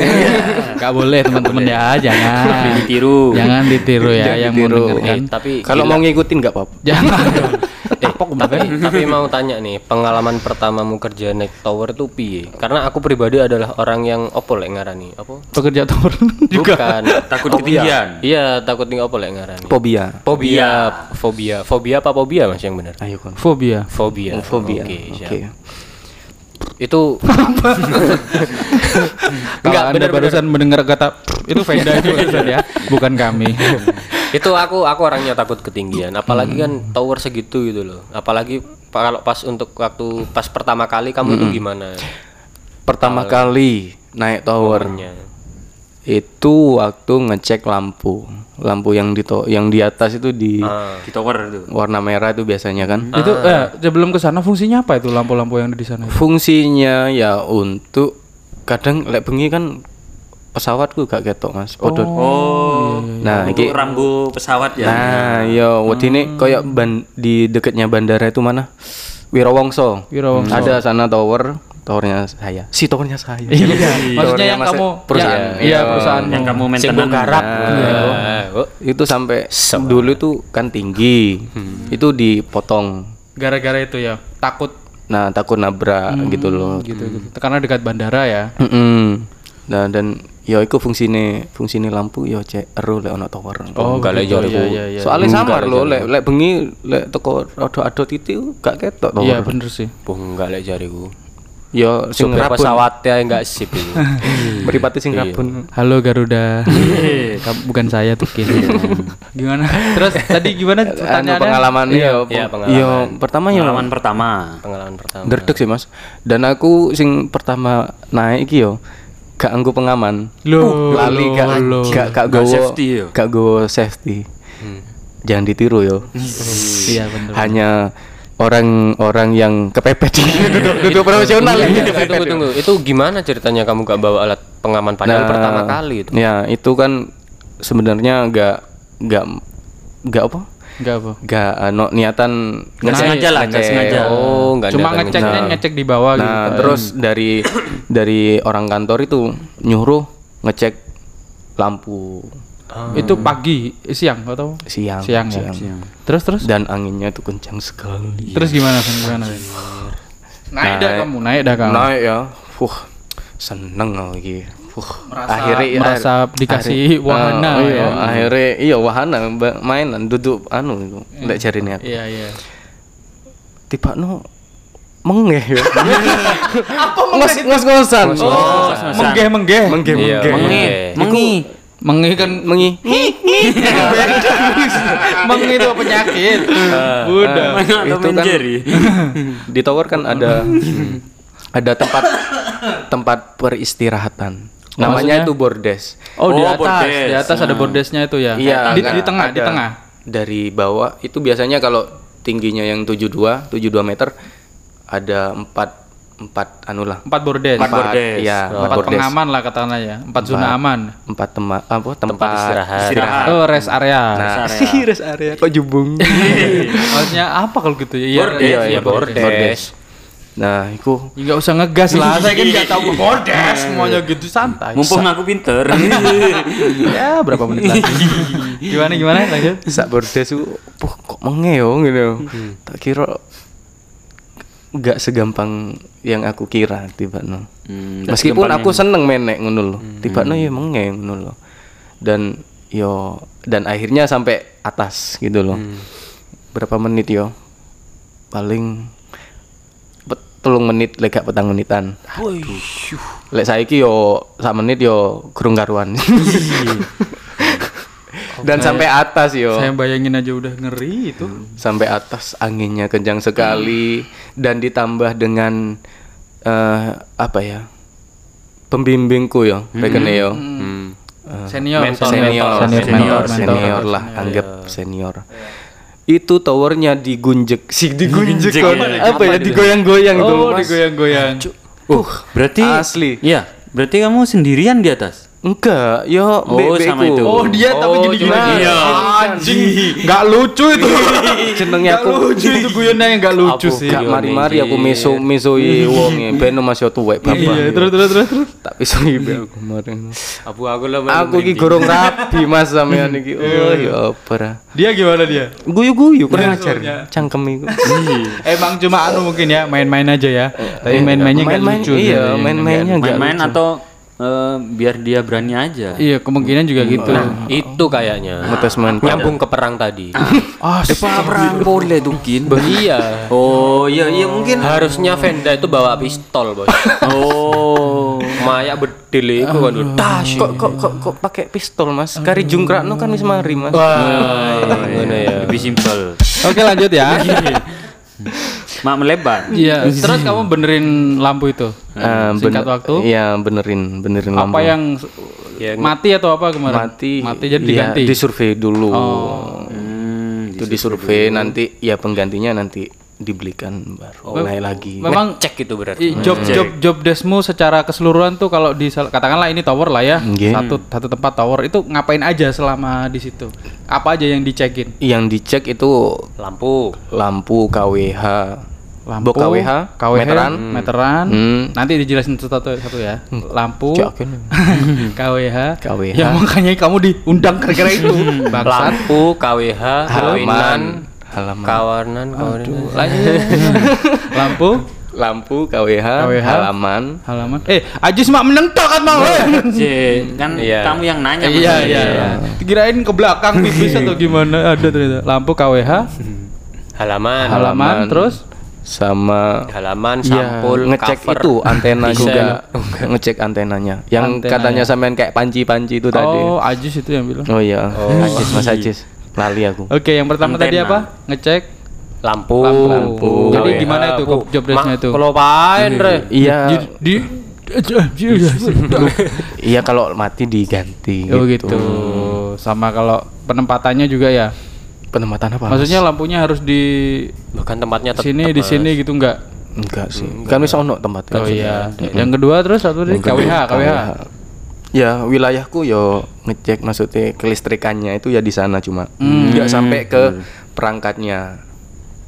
[SPEAKER 1] Gak boleh teman-teman ya,
[SPEAKER 4] Iya.
[SPEAKER 1] jangan.
[SPEAKER 3] Ditiru.
[SPEAKER 1] Jangan ditiru ya yang mau
[SPEAKER 4] Ditiru.
[SPEAKER 2] Iya.
[SPEAKER 1] dengerin.
[SPEAKER 2] Eh, Tapi eh,
[SPEAKER 4] Kalau mau ngikutin enggak apa-apa.
[SPEAKER 1] Jangan. dong.
[SPEAKER 2] tapi, tapi mau tanya nih, pengalaman pertamamu kerja naik tower tuh piye? Karena aku pribadi adalah orang yang opo lek ngarani, opo?
[SPEAKER 1] Pekerja tower juga.
[SPEAKER 2] Bukan.
[SPEAKER 3] Takut ketinggian.
[SPEAKER 2] iya, takut tinggal opo lek ngarani.
[SPEAKER 4] Fobia.
[SPEAKER 2] Fobia, fobia, fobia apa fobia Mas yang benar?
[SPEAKER 4] Ayo kon.
[SPEAKER 1] Fobia.
[SPEAKER 2] Fobia.
[SPEAKER 4] Fobia.
[SPEAKER 2] Oke, siap.
[SPEAKER 4] Oke.
[SPEAKER 2] Itu
[SPEAKER 1] Kalau Anda barusan mendengar kata itu Venda itu barusan ya, bukan kami.
[SPEAKER 2] itu aku aku orangnya takut ketinggian apalagi kan tower segitu gitu loh apalagi pa- kalau pas untuk waktu pas pertama kali kamu itu gimana
[SPEAKER 4] Pertama kali naik tower
[SPEAKER 2] Ya.
[SPEAKER 4] itu itu waktu ngecek lampu lampu yang di to- yang di atas itu di
[SPEAKER 3] Di tower itu.
[SPEAKER 4] warna merah itu biasanya kan
[SPEAKER 1] Itu eh sebelum ke sana fungsinya apa itu lampu-lampu yang ada di sana?
[SPEAKER 4] Ah. fungsinya ya untuk kadang lek bengi kan pesawatku gak ketok mas Podot.
[SPEAKER 3] Oh.
[SPEAKER 4] nah
[SPEAKER 3] Untuk
[SPEAKER 4] iki
[SPEAKER 3] rambu pesawat ya.
[SPEAKER 4] nah yo wedine
[SPEAKER 1] Hmm.
[SPEAKER 4] koyo ban, di dekatnya bandara itu mana Wirawongso
[SPEAKER 1] Wirawongso.
[SPEAKER 4] Hmm, ada sana tower towernya saya si towernya saya
[SPEAKER 1] Maksudnya
[SPEAKER 4] Towernya
[SPEAKER 1] yang
[SPEAKER 4] mas-
[SPEAKER 1] kamu
[SPEAKER 4] perusahaan
[SPEAKER 1] yang- iya perusahaan
[SPEAKER 3] Yang kamu
[SPEAKER 2] Sing
[SPEAKER 3] maintenance.
[SPEAKER 2] mbok garap. Oh,
[SPEAKER 4] itu sampai dulu itu kan tinggi itu dipotong
[SPEAKER 1] gara-gara itu ya takut
[SPEAKER 4] nah takut nabrak gitu loh
[SPEAKER 1] gitu, gitu. karena dekat bandara ya.
[SPEAKER 4] Mm-mm. nah dan ya itu fungsinya fungsinya lampu ya cek ero lek ono tower
[SPEAKER 1] Oh,
[SPEAKER 2] enggak
[SPEAKER 1] begitu. Iya,
[SPEAKER 2] lah, Jor.
[SPEAKER 1] iya, iya.
[SPEAKER 4] soalnya samar loh lek lek bengi lek teko rada adot itu gak ketok tower
[SPEAKER 1] Iya, bener sih.
[SPEAKER 2] Wah, enggak Oh, lek jariku.
[SPEAKER 4] ya sing
[SPEAKER 2] Supir
[SPEAKER 4] rabun
[SPEAKER 2] pesawatnya enggak sip itu.
[SPEAKER 4] meripati sing rabun
[SPEAKER 1] Halo Garuda. Kamu bukan saya tuh Kin. gimana? Terus tadi gimana
[SPEAKER 4] anu
[SPEAKER 1] pertanyaannya?
[SPEAKER 4] pengalaman ya
[SPEAKER 2] Iya, pengalaman.
[SPEAKER 4] pertama ya
[SPEAKER 3] Pengalaman pertama.
[SPEAKER 2] Pengalaman pertama.
[SPEAKER 4] derdek sih mas dan aku sing pertama naik iki yo gak anggo pengaman
[SPEAKER 1] Loh,
[SPEAKER 4] lali gak
[SPEAKER 1] loh.
[SPEAKER 4] gak
[SPEAKER 3] Gak
[SPEAKER 4] gak gowo
[SPEAKER 3] safety yo.
[SPEAKER 4] gak gowo safety jangan ditiru yo
[SPEAKER 1] Iya, bener.
[SPEAKER 4] hanya orang-orang yang kepepet Iya, duduk, duduk profesional ini
[SPEAKER 2] Iya, Tunggu, tunggu, tunggu. Itu gimana ceritanya kamu gak bawa alat pengaman padahal pertama kali itu?
[SPEAKER 4] ya itu kan sebenarnya gak gak gak apa
[SPEAKER 1] Enggak apa.
[SPEAKER 4] gak ano, niatan
[SPEAKER 3] Nggak
[SPEAKER 4] ngecek.
[SPEAKER 3] sengaja lah, nggak
[SPEAKER 4] Ngecek.
[SPEAKER 3] sengaja.
[SPEAKER 2] Oh, enggak
[SPEAKER 1] Cuma
[SPEAKER 2] ada
[SPEAKER 1] ngeceknya ngecek di bawah gitu.
[SPEAKER 4] Nah, terus dari dari orang kantor itu nyuruh ngecek lampu
[SPEAKER 1] Itu pagi, eh, siang atau Ah.
[SPEAKER 4] siang,
[SPEAKER 1] siang, ya? Terus terus
[SPEAKER 4] Dan anginnya itu kencang sekali.
[SPEAKER 1] terus gimana Vin? Gimana, Vin? Naik dah kamu, naik dah kamu.
[SPEAKER 4] Naik ya. Fuh, seneng lagi. Fuh, akhirnya ya,
[SPEAKER 1] Ah, merasa dikasih wahana
[SPEAKER 4] Ah, iya,
[SPEAKER 1] ya.
[SPEAKER 4] akhirnya iya wahana ba- mainan duduk anu itu. Lek jarine aku.
[SPEAKER 1] Iya, iya.
[SPEAKER 4] Tiba no mengeh ya. Apa mengeh? Ngos-ngosan.
[SPEAKER 3] Oh, selesai.
[SPEAKER 1] Menggeh, menggeh.
[SPEAKER 4] Menggeh,
[SPEAKER 2] Iya,
[SPEAKER 4] menggeh.
[SPEAKER 2] menggeh.
[SPEAKER 3] Mengi.
[SPEAKER 1] Menggeh kan
[SPEAKER 4] Mengi.
[SPEAKER 1] menggeh itu penyakit.
[SPEAKER 4] Nah,
[SPEAKER 1] Udah.
[SPEAKER 3] Atau
[SPEAKER 4] itu
[SPEAKER 3] main
[SPEAKER 4] kan
[SPEAKER 3] Jerry.
[SPEAKER 4] di tower kan ada ada tempat tempat peristirahatan. Namanya
[SPEAKER 1] Oh, Maksudnya?
[SPEAKER 4] itu bordes.
[SPEAKER 1] Oh, di
[SPEAKER 3] Oh,
[SPEAKER 1] atas,
[SPEAKER 3] bordes.
[SPEAKER 1] di atas ada bordesnya itu ya. di,
[SPEAKER 4] kan
[SPEAKER 1] di tengah, di
[SPEAKER 4] ada
[SPEAKER 1] tengah.
[SPEAKER 4] Dari bawah itu biasanya kalau tingginya yang 72, 72 meter ada empat empat anu lah.
[SPEAKER 1] Empat bordes. Oh.
[SPEAKER 3] Empat bordes.
[SPEAKER 4] Iya,
[SPEAKER 1] Empat pengaman lah katanya ya. Empat zona aman.
[SPEAKER 4] Empat tema apa tempat,
[SPEAKER 2] istirahat.
[SPEAKER 3] Istirahat.
[SPEAKER 1] Oh, rest area.
[SPEAKER 4] Nah, rest area kok jubung.
[SPEAKER 1] Maksudnya apa kalau gitu ya? Iya,
[SPEAKER 3] Bordes,
[SPEAKER 1] iya,
[SPEAKER 2] Iya,
[SPEAKER 1] iya, bordes.
[SPEAKER 2] bordes.
[SPEAKER 4] nah, itu
[SPEAKER 1] Ya nggak usah ngegas lah. Saya kan nggak tahu bordes semuanya gitu santai.
[SPEAKER 3] Mumpung aku pinter.
[SPEAKER 4] Iya.
[SPEAKER 1] Ya, berapa menit lagi? gimana gimana lanjut?
[SPEAKER 4] sak bordes itu puh kok mengeong gitu tak kira nggak segampang yang aku kira tiba no
[SPEAKER 3] Hmm,
[SPEAKER 4] meskipun aku seneng menek ngono loh tiba no ya menge ngono loh dan yo dan akhirnya sampai atas gitu loh berapa menit yo paling pet- telung menit lek gak petang menitan lek saiki yo sak menit yo gerung karuan dan sampai atas yo
[SPEAKER 1] Saya bayangin aja udah ngeri itu.
[SPEAKER 4] sampai atas anginnya kencang sekali
[SPEAKER 1] Hmm.
[SPEAKER 4] dan ditambah dengan eh, apa ya pembimbingku ya rekennya yo
[SPEAKER 1] Senior, Hmm. Eh,
[SPEAKER 4] senior senior
[SPEAKER 1] mentor,
[SPEAKER 4] senior,
[SPEAKER 1] mentor, Iya. mentor.
[SPEAKER 4] lah anggap senior itu towernya digunjek sih
[SPEAKER 3] Digunjek,
[SPEAKER 4] digunjek
[SPEAKER 1] iya,
[SPEAKER 4] kan.
[SPEAKER 3] ya.
[SPEAKER 4] apa ya digoyang-goyang itu
[SPEAKER 1] Oh,
[SPEAKER 4] mas
[SPEAKER 1] digoyang-goyang.
[SPEAKER 3] Uh, berarti
[SPEAKER 4] Asli.
[SPEAKER 3] Iya, berarti kamu sendirian di atas.
[SPEAKER 4] enggak yo
[SPEAKER 3] Oh,
[SPEAKER 4] bebeku.
[SPEAKER 3] sama itu.
[SPEAKER 1] Oh, dia tapi
[SPEAKER 4] Oh,
[SPEAKER 1] gini-gini.
[SPEAKER 4] iya.
[SPEAKER 1] Anjing, nggak lucu itu. Nggak
[SPEAKER 4] jenengnya iya, aku
[SPEAKER 1] lucu itu guyonnya nggak Oh, iya, lucu sih. Iya,
[SPEAKER 4] gak mari-mari aku meso mesoi wonge ben mas yo tuwek bapak
[SPEAKER 1] Iya, terus terus terus terus.
[SPEAKER 4] tak bisa ibu aku kemarin
[SPEAKER 2] Abu aku lah.
[SPEAKER 4] aku ki gorong rapi mas sampean iki oh ya apa ra.
[SPEAKER 1] Dia gimana dia?
[SPEAKER 4] guyu-guyu kurang ajar
[SPEAKER 1] soalnya.
[SPEAKER 4] cangkem iku Iya,
[SPEAKER 1] Emang cuma anu mungkin ya, main-main aja ya. Tapi main-mainnya nggak
[SPEAKER 4] Eh, Main-main,
[SPEAKER 1] lucu. dia.
[SPEAKER 4] iya, main-mainnya enggak
[SPEAKER 3] Main-main atau eh, biar dia berani aja.
[SPEAKER 1] Iya, kemungkinan juga gitu.
[SPEAKER 2] Itu kayaknya.
[SPEAKER 4] Ngetes main
[SPEAKER 2] Nyambung ke perang tadi.
[SPEAKER 1] Ah,
[SPEAKER 3] perang boleh tukin.
[SPEAKER 2] iya.
[SPEAKER 3] Oh, iya iya mungkin.
[SPEAKER 2] Harusnya Venda itu bawa pistol, Bos.
[SPEAKER 3] Oh.
[SPEAKER 2] Maya bedil itu kan. Tas
[SPEAKER 4] kok kok kok kok pakai pistol mas kari jungkrakno kan wis mari mas
[SPEAKER 2] ngono ya.
[SPEAKER 3] Lebih simpel.
[SPEAKER 1] Oke, lanjut ya.
[SPEAKER 4] Iya.
[SPEAKER 3] Mak melebar.
[SPEAKER 1] Iya, terus kamu benerin lampu itu.
[SPEAKER 4] Eh,
[SPEAKER 1] Singkat
[SPEAKER 4] bener-
[SPEAKER 1] waktu.
[SPEAKER 4] iya benerin benerin
[SPEAKER 1] Apa
[SPEAKER 4] lampu.
[SPEAKER 1] yang
[SPEAKER 4] Ya,
[SPEAKER 1] Mati atau apa kemarin?
[SPEAKER 4] mati
[SPEAKER 1] Mati jadi
[SPEAKER 4] ya,
[SPEAKER 1] diganti.
[SPEAKER 4] disurvei dulu
[SPEAKER 3] Hmm,
[SPEAKER 4] itu disurvei nanti ya penggantinya nanti dibelikan baru naik lagi
[SPEAKER 1] Memang
[SPEAKER 2] cek itu berarti
[SPEAKER 4] Iya.
[SPEAKER 1] i- job job job deskmu secara keseluruhan tuh kalau di katakanlah ini tower lah ya.
[SPEAKER 4] Nggih.
[SPEAKER 1] Satu satu tempat tower itu ngapain aja selama di situ? Apa aja yang dicekin?
[SPEAKER 4] yang dicek itu
[SPEAKER 2] lampu
[SPEAKER 4] lampu KWH
[SPEAKER 1] Lampu,
[SPEAKER 4] Bok KWH, meteran
[SPEAKER 1] meteran.
[SPEAKER 4] Hmm.
[SPEAKER 1] Nanti dijelasin satu satu ya. Lampu,
[SPEAKER 4] Jakin.
[SPEAKER 1] KWH,
[SPEAKER 4] KWH.
[SPEAKER 1] Ya makanya kamu diundang gara-gara itu.
[SPEAKER 4] Hmm.
[SPEAKER 1] Bangsat.
[SPEAKER 2] lampu KWH
[SPEAKER 4] halaman
[SPEAKER 2] kawinan
[SPEAKER 4] halaman
[SPEAKER 2] kawarnan kawarnan
[SPEAKER 1] Lampu,
[SPEAKER 4] lampu KWH,
[SPEAKER 1] KWH.
[SPEAKER 4] halaman
[SPEAKER 1] halaman. Eh, Ajis mak menentok kan mau.
[SPEAKER 3] kan
[SPEAKER 2] Iya.
[SPEAKER 3] kamu yang nanya
[SPEAKER 1] iya
[SPEAKER 3] Mas.
[SPEAKER 1] iya. Kirain ke belakang pipis atau gimana? Ada ternyata. Lampu KWH,
[SPEAKER 2] halaman
[SPEAKER 1] halaman, terus
[SPEAKER 4] sama
[SPEAKER 2] halaman
[SPEAKER 4] Ya,
[SPEAKER 2] sampul
[SPEAKER 4] Iya, ngecek
[SPEAKER 2] cover.
[SPEAKER 4] itu antena
[SPEAKER 2] Diesel.
[SPEAKER 4] juga ngecek antenanya yang
[SPEAKER 1] Antena,
[SPEAKER 4] katanya sampean kayak panci-panci itu tadi
[SPEAKER 1] Oh, Ajis itu yang bilang.
[SPEAKER 4] oh iya Ajis Mas Ajis lali aku
[SPEAKER 1] Oke, yang pertama tadi
[SPEAKER 3] Antena.
[SPEAKER 1] apa? Ngecek
[SPEAKER 2] lampu,
[SPEAKER 1] lampu.
[SPEAKER 4] Lampu.
[SPEAKER 1] Jadi
[SPEAKER 4] KWH,
[SPEAKER 1] di mana itu
[SPEAKER 2] Bu.
[SPEAKER 1] job desk-nya
[SPEAKER 2] Mak,
[SPEAKER 1] itu?
[SPEAKER 2] kelopain, Re.
[SPEAKER 4] iya
[SPEAKER 1] Di- di
[SPEAKER 4] iya kalau mati diganti
[SPEAKER 1] Oh gitu. Sama kalau penempatannya juga ya.
[SPEAKER 4] penempatan apa Mas?
[SPEAKER 1] Maksudnya lampunya harus di
[SPEAKER 2] bukan tempatnya tetep,
[SPEAKER 1] sini di
[SPEAKER 2] Mas.
[SPEAKER 1] sini gitu enggak?
[SPEAKER 4] enggak sih kan bisa ono tempat
[SPEAKER 1] Oh iya. Yang kedua terus satu tadi KWH, KWH.
[SPEAKER 4] ya wilayahku yo ngecek maksudnya kelistrikannya itu ya di sana cuma nggak sampai ke perangkatnya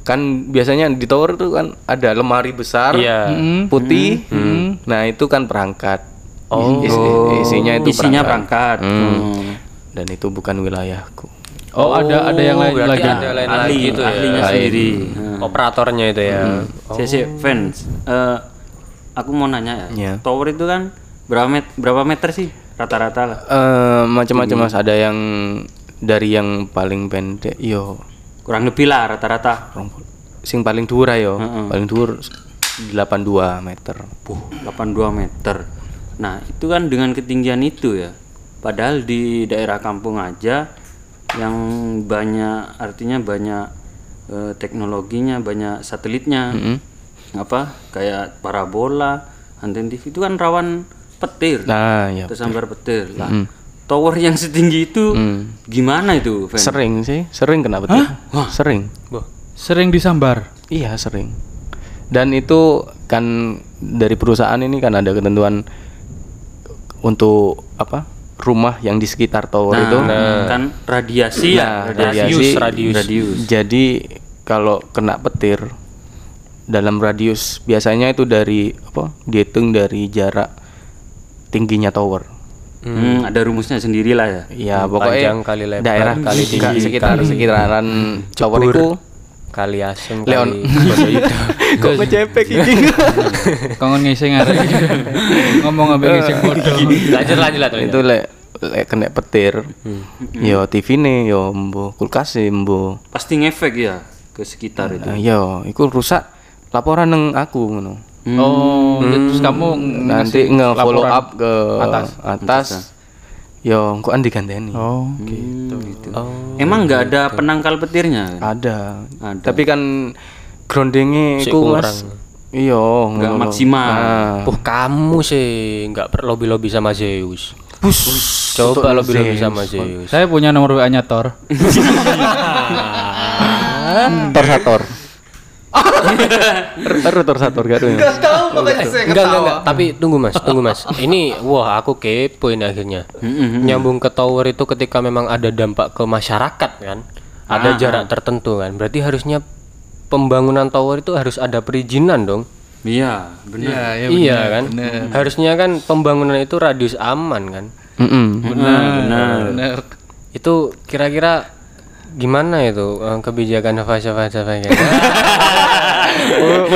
[SPEAKER 4] kan biasanya di tower tuh kan ada lemari besar
[SPEAKER 2] iya
[SPEAKER 1] Mm-mm.
[SPEAKER 4] putih nah itu kan perangkat
[SPEAKER 2] Oh.
[SPEAKER 4] Isi- isinya itu
[SPEAKER 3] isinya perangkat
[SPEAKER 4] Hmm. dan itu bukan wilayahku
[SPEAKER 1] Oh, ada ada yang lain
[SPEAKER 2] berarti
[SPEAKER 1] lagi.
[SPEAKER 2] ada lain
[SPEAKER 3] ahli
[SPEAKER 2] lagi itu ya
[SPEAKER 3] ahlinya
[SPEAKER 4] Lain.
[SPEAKER 3] sendiri
[SPEAKER 2] operatornya itu ya
[SPEAKER 3] saya sih fans Eh, aku mau nanya ya
[SPEAKER 4] Iya.
[SPEAKER 3] tower itu kan berapa met- berapa meter sih rata-rata lah
[SPEAKER 4] Eh, macam-macam mas ada yang dari yang paling pendek yo
[SPEAKER 3] kurang lebih lah rata-rata
[SPEAKER 4] rompol- sing paling dura yo paling dur 82 meter
[SPEAKER 3] Buh, 82 meter. Nah, itu kan dengan ketinggian itu ya. Padahal di daerah kampung aja yang banyak artinya banyak eh, teknologinya, banyak satelitnya. Apa? Kayak parabola, anten TV itu kan rawan petir.
[SPEAKER 4] nah ya
[SPEAKER 3] tersambar petir. Lah, tower yang setinggi itu
[SPEAKER 4] Hmm.
[SPEAKER 3] gimana itu, Fen?
[SPEAKER 4] sering sih sering kena betul sering
[SPEAKER 1] Sering disambar.
[SPEAKER 4] Iya sering. Dan itu kan dari perusahaan ini kan ada ketentuan untuk apa rumah yang di sekitar tower
[SPEAKER 3] Nah,
[SPEAKER 4] itu.
[SPEAKER 3] kan radiasi ya,
[SPEAKER 4] Nah, radiasi-
[SPEAKER 3] radius. radius.
[SPEAKER 4] Jadi kalau kena petir dalam radius biasanya itu dari apa dihitung dari jarak tingginya tower.
[SPEAKER 3] Hmm, ada rumusnya sendirilah ya.
[SPEAKER 4] Ya pokoknya
[SPEAKER 2] Hmm, Panjang kali lebar
[SPEAKER 4] daerah
[SPEAKER 2] kali
[SPEAKER 4] sekitar-
[SPEAKER 2] tinggi Hmm.
[SPEAKER 4] sekitar sekitaran tower itu
[SPEAKER 2] kali asem
[SPEAKER 4] Leon.
[SPEAKER 2] kali
[SPEAKER 4] kok ngecepek ini.
[SPEAKER 1] Kangen ngising arek. Ngomong apa ngising bodoh.
[SPEAKER 2] lanjut lanjut lanjut
[SPEAKER 4] itu lek lek kena petir yo TV nih yo mbo kulkas sih mbo
[SPEAKER 3] Pasti ngefek ya ke sekitar itu.
[SPEAKER 4] nah, yo iku rusak laporan neng aku ngono
[SPEAKER 1] Oh, terus kamu ng-
[SPEAKER 4] nanti
[SPEAKER 1] ngasih
[SPEAKER 4] nge follow
[SPEAKER 1] laporan.
[SPEAKER 4] up ke
[SPEAKER 1] atas.
[SPEAKER 4] atas atas yo kok an diganteni
[SPEAKER 1] Oh.
[SPEAKER 3] Emang nggak ada penangkal petirnya?
[SPEAKER 4] ada. tapi kan groundingnya iku mas iya
[SPEAKER 3] Nggak
[SPEAKER 4] ngono.
[SPEAKER 3] maksimal.
[SPEAKER 2] Puh kamu sih nggak perlu lobby lobby sama Zeus. Bus. Coba lobby lobby sama Zeus.
[SPEAKER 1] Saya punya nomor WA-nya Tor.
[SPEAKER 4] tor sator Terus tor sator gak tuh ya?
[SPEAKER 2] Enggak enggak enggak. Tapi tunggu mas, tunggu mas. Ini wah aku kepo ini akhirnya. Nyambung ke tower itu ketika memang ada dampak ke masyarakat kan, ada jarak tertentu kan. Berarti harusnya pembangunan tower itu harus ada perizinan dong.
[SPEAKER 3] Iya, benar.
[SPEAKER 1] Iya,
[SPEAKER 2] iya kan. Harusnya kan pembangunan itu radius aman kan.
[SPEAKER 4] Mm-mm.
[SPEAKER 3] Benar, benar.
[SPEAKER 1] Nah, benar.
[SPEAKER 2] Itu kira-kira gimana itu eh, kebijakan fase-fase kayak gitu?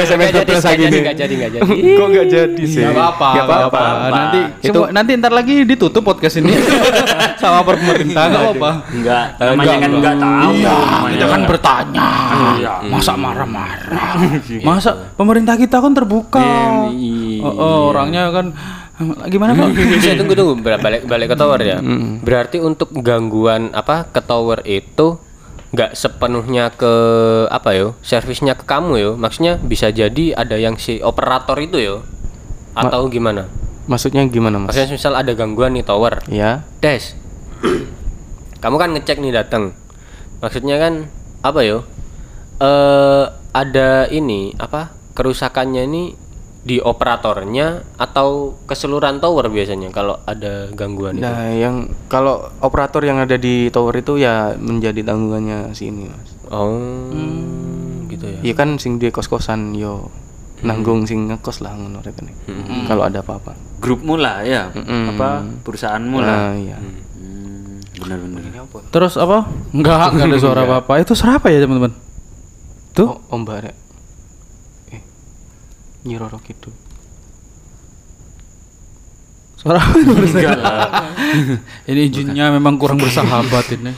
[SPEAKER 2] Nggak jadi, nggak jadi, nggak jadi, nggak jadi.
[SPEAKER 4] Kok gak jadi sih?
[SPEAKER 1] Gak apa-apa,
[SPEAKER 4] Nggak
[SPEAKER 1] Iya nggak apa-apa. Nanti semua- nanti ntar lagi ditutup podcast ini sama pemerintah enggak apa-apa.
[SPEAKER 3] Enggak, namanya kan enggak tahu. Iya,
[SPEAKER 1] Kita kan bertanya.
[SPEAKER 3] Iya.
[SPEAKER 1] Masa marah-marah? Masa pemerintah kita kan terbuka. Oh, oh, orangnya kan gimana Pak?
[SPEAKER 2] Saya tunggu tunggu bal- balik balik ke tower ya. Berarti untuk gangguan apa ke tower itu nggak sepenuhnya ke apa yo servisnya ke kamu yo maksudnya bisa jadi ada yang si operator itu yo atau gimana
[SPEAKER 4] Maksudnya gimana mas?
[SPEAKER 2] Maksudnya misal ada gangguan nih tower.
[SPEAKER 4] Ya.
[SPEAKER 2] Des. kamu kan ngecek nih datang. Maksudnya kan apa yo? Eh ada ini apa? Kerusakannya ini di operatornya atau keseluruhan tower biasanya kalau ada gangguan itu.
[SPEAKER 4] Nah yang kalau operator yang ada di tower itu ya menjadi tanggungannya si ini mas.
[SPEAKER 2] Oh, gitu ya.
[SPEAKER 4] Iya kan sing di kos kosan yo nanggung sing ngekos lah ngono rekening. Kalau ada apa-apa.
[SPEAKER 3] Grupmu lah ya,
[SPEAKER 4] Hmm.
[SPEAKER 3] apa perusahaanmu lah.
[SPEAKER 4] Nah iya.
[SPEAKER 3] Hmm, Benar-benar.
[SPEAKER 1] Terus apa? Enggak, enggak ada suara apa-apa. Itu suara apa ya, teman-teman? Tuh.
[SPEAKER 4] Oh, Om Barek. Eh. Nyi Roro Kidul.
[SPEAKER 1] Suara apa itu barusan? Ini jinnya memang kurang bersahabat ini.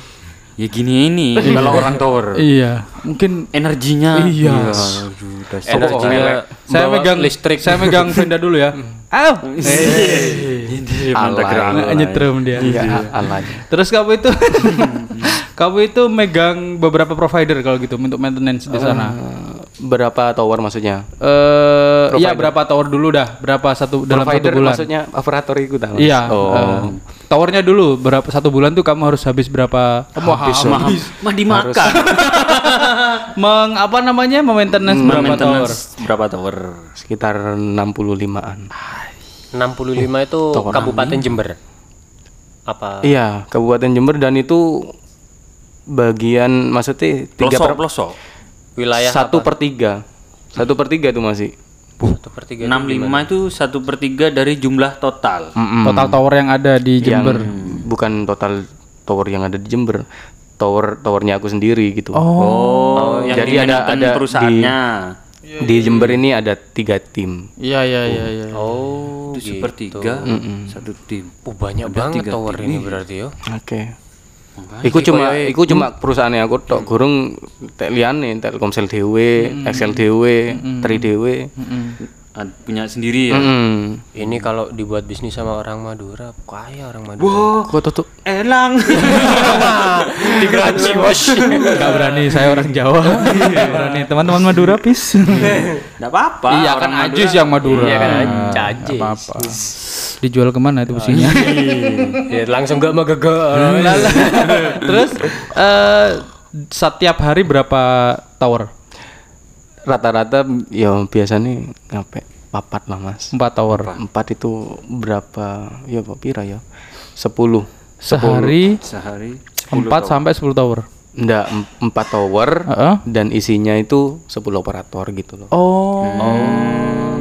[SPEAKER 3] Ya gini ini kalau orang tower.
[SPEAKER 1] Iya, mungkin
[SPEAKER 3] Energinya. Eh,
[SPEAKER 1] Iya.
[SPEAKER 3] Aduh, dasar.
[SPEAKER 2] Energinya
[SPEAKER 1] saya
[SPEAKER 2] bawa
[SPEAKER 1] megang
[SPEAKER 2] listrik.
[SPEAKER 1] Saya megang Venda dulu ya. Au.
[SPEAKER 3] Ini mantap gerak.
[SPEAKER 1] Nah, Nyetrum dia.
[SPEAKER 4] Iya, alay.
[SPEAKER 1] Terus kamu itu kamu itu megang beberapa provider kalau gitu untuk maintenance di sana.
[SPEAKER 4] Eh, Berapa tower maksudnya?
[SPEAKER 1] Eh, iya berapa tower dulu dah? Berapa satu dalam satu
[SPEAKER 4] Provider
[SPEAKER 1] bulan?
[SPEAKER 4] maksudnya operator itu Oh. tahu.
[SPEAKER 1] Iya. eh, towernya dulu berapa satu bulan tuh kamu harus habis berapa? Kamu habis, habis.
[SPEAKER 3] Mah dimakan.
[SPEAKER 1] Meng apa namanya? Maintenance berapa tower?
[SPEAKER 3] Maintenance Berapa tower?
[SPEAKER 4] Sekitar 65-an.
[SPEAKER 2] 65 itu Kabupaten Jember. Apa?
[SPEAKER 4] Iya, Kabupaten Jember dan itu bagian maksudnya tiga
[SPEAKER 3] Pelosok,
[SPEAKER 4] per,
[SPEAKER 3] pelosok.
[SPEAKER 2] Wilayah
[SPEAKER 4] satu per tiga, satu per tiga itu masih.
[SPEAKER 2] satu per tiga.
[SPEAKER 3] 65 itu 1 per 3 dari jumlah total.
[SPEAKER 1] Total tower yang ada di Jember.
[SPEAKER 4] Hmm. Bukan total tower yang ada di Jember, tower towernya aku sendiri gitu.
[SPEAKER 3] Oh, yang
[SPEAKER 4] jadi ada-
[SPEAKER 3] dimainkan
[SPEAKER 4] ada di-
[SPEAKER 3] perusahaannya.
[SPEAKER 4] di Jember ini ada tiga tim.
[SPEAKER 1] Iya iya iya iya.
[SPEAKER 2] Oh,
[SPEAKER 3] Itu sepertiga satu tim.
[SPEAKER 2] oh, banyak banget tower ini berarti yo.
[SPEAKER 4] Oke. Iku cuma iku cuma perusahaannya aku tok gurung tek liyane Telkomsel dhewe, Excel dhewe, Tri dhewe.
[SPEAKER 3] Ad- Punya sendiri ya.
[SPEAKER 4] Mm.
[SPEAKER 2] Ini kalau dibuat bisnis sama orang Madura, kaya orang Madura.
[SPEAKER 4] Kok tutup?
[SPEAKER 3] Elang.
[SPEAKER 2] Digaji bos.
[SPEAKER 1] Gak berani, saya orang Jawa. Gak berani. Teman-teman Madura pis.
[SPEAKER 3] Enggak apa-apa.
[SPEAKER 1] iya kan
[SPEAKER 3] Ah, orang
[SPEAKER 1] Ajis yang Madura.
[SPEAKER 2] Iya kan,
[SPEAKER 1] Nggak
[SPEAKER 2] Ajis.
[SPEAKER 1] Apa-apa. Dijual kemana itu businya?
[SPEAKER 2] ya, langsung gak mau
[SPEAKER 1] Nah,
[SPEAKER 2] gagal.
[SPEAKER 1] Terus eh, setiap hari berapa tower?
[SPEAKER 4] Rata-rata ya biasanya ngapain? Papat lah mas.
[SPEAKER 1] Empat tower.
[SPEAKER 4] Empat itu berapa? Ya Pak Pira ya. Sepuluh.
[SPEAKER 1] Sehari
[SPEAKER 3] sehari.
[SPEAKER 1] empat sampai sepuluh tower.
[SPEAKER 4] Nggak, em- empat tower
[SPEAKER 1] Heeh.
[SPEAKER 4] dan isinya itu sepuluh operator gitu loh.
[SPEAKER 1] Oh.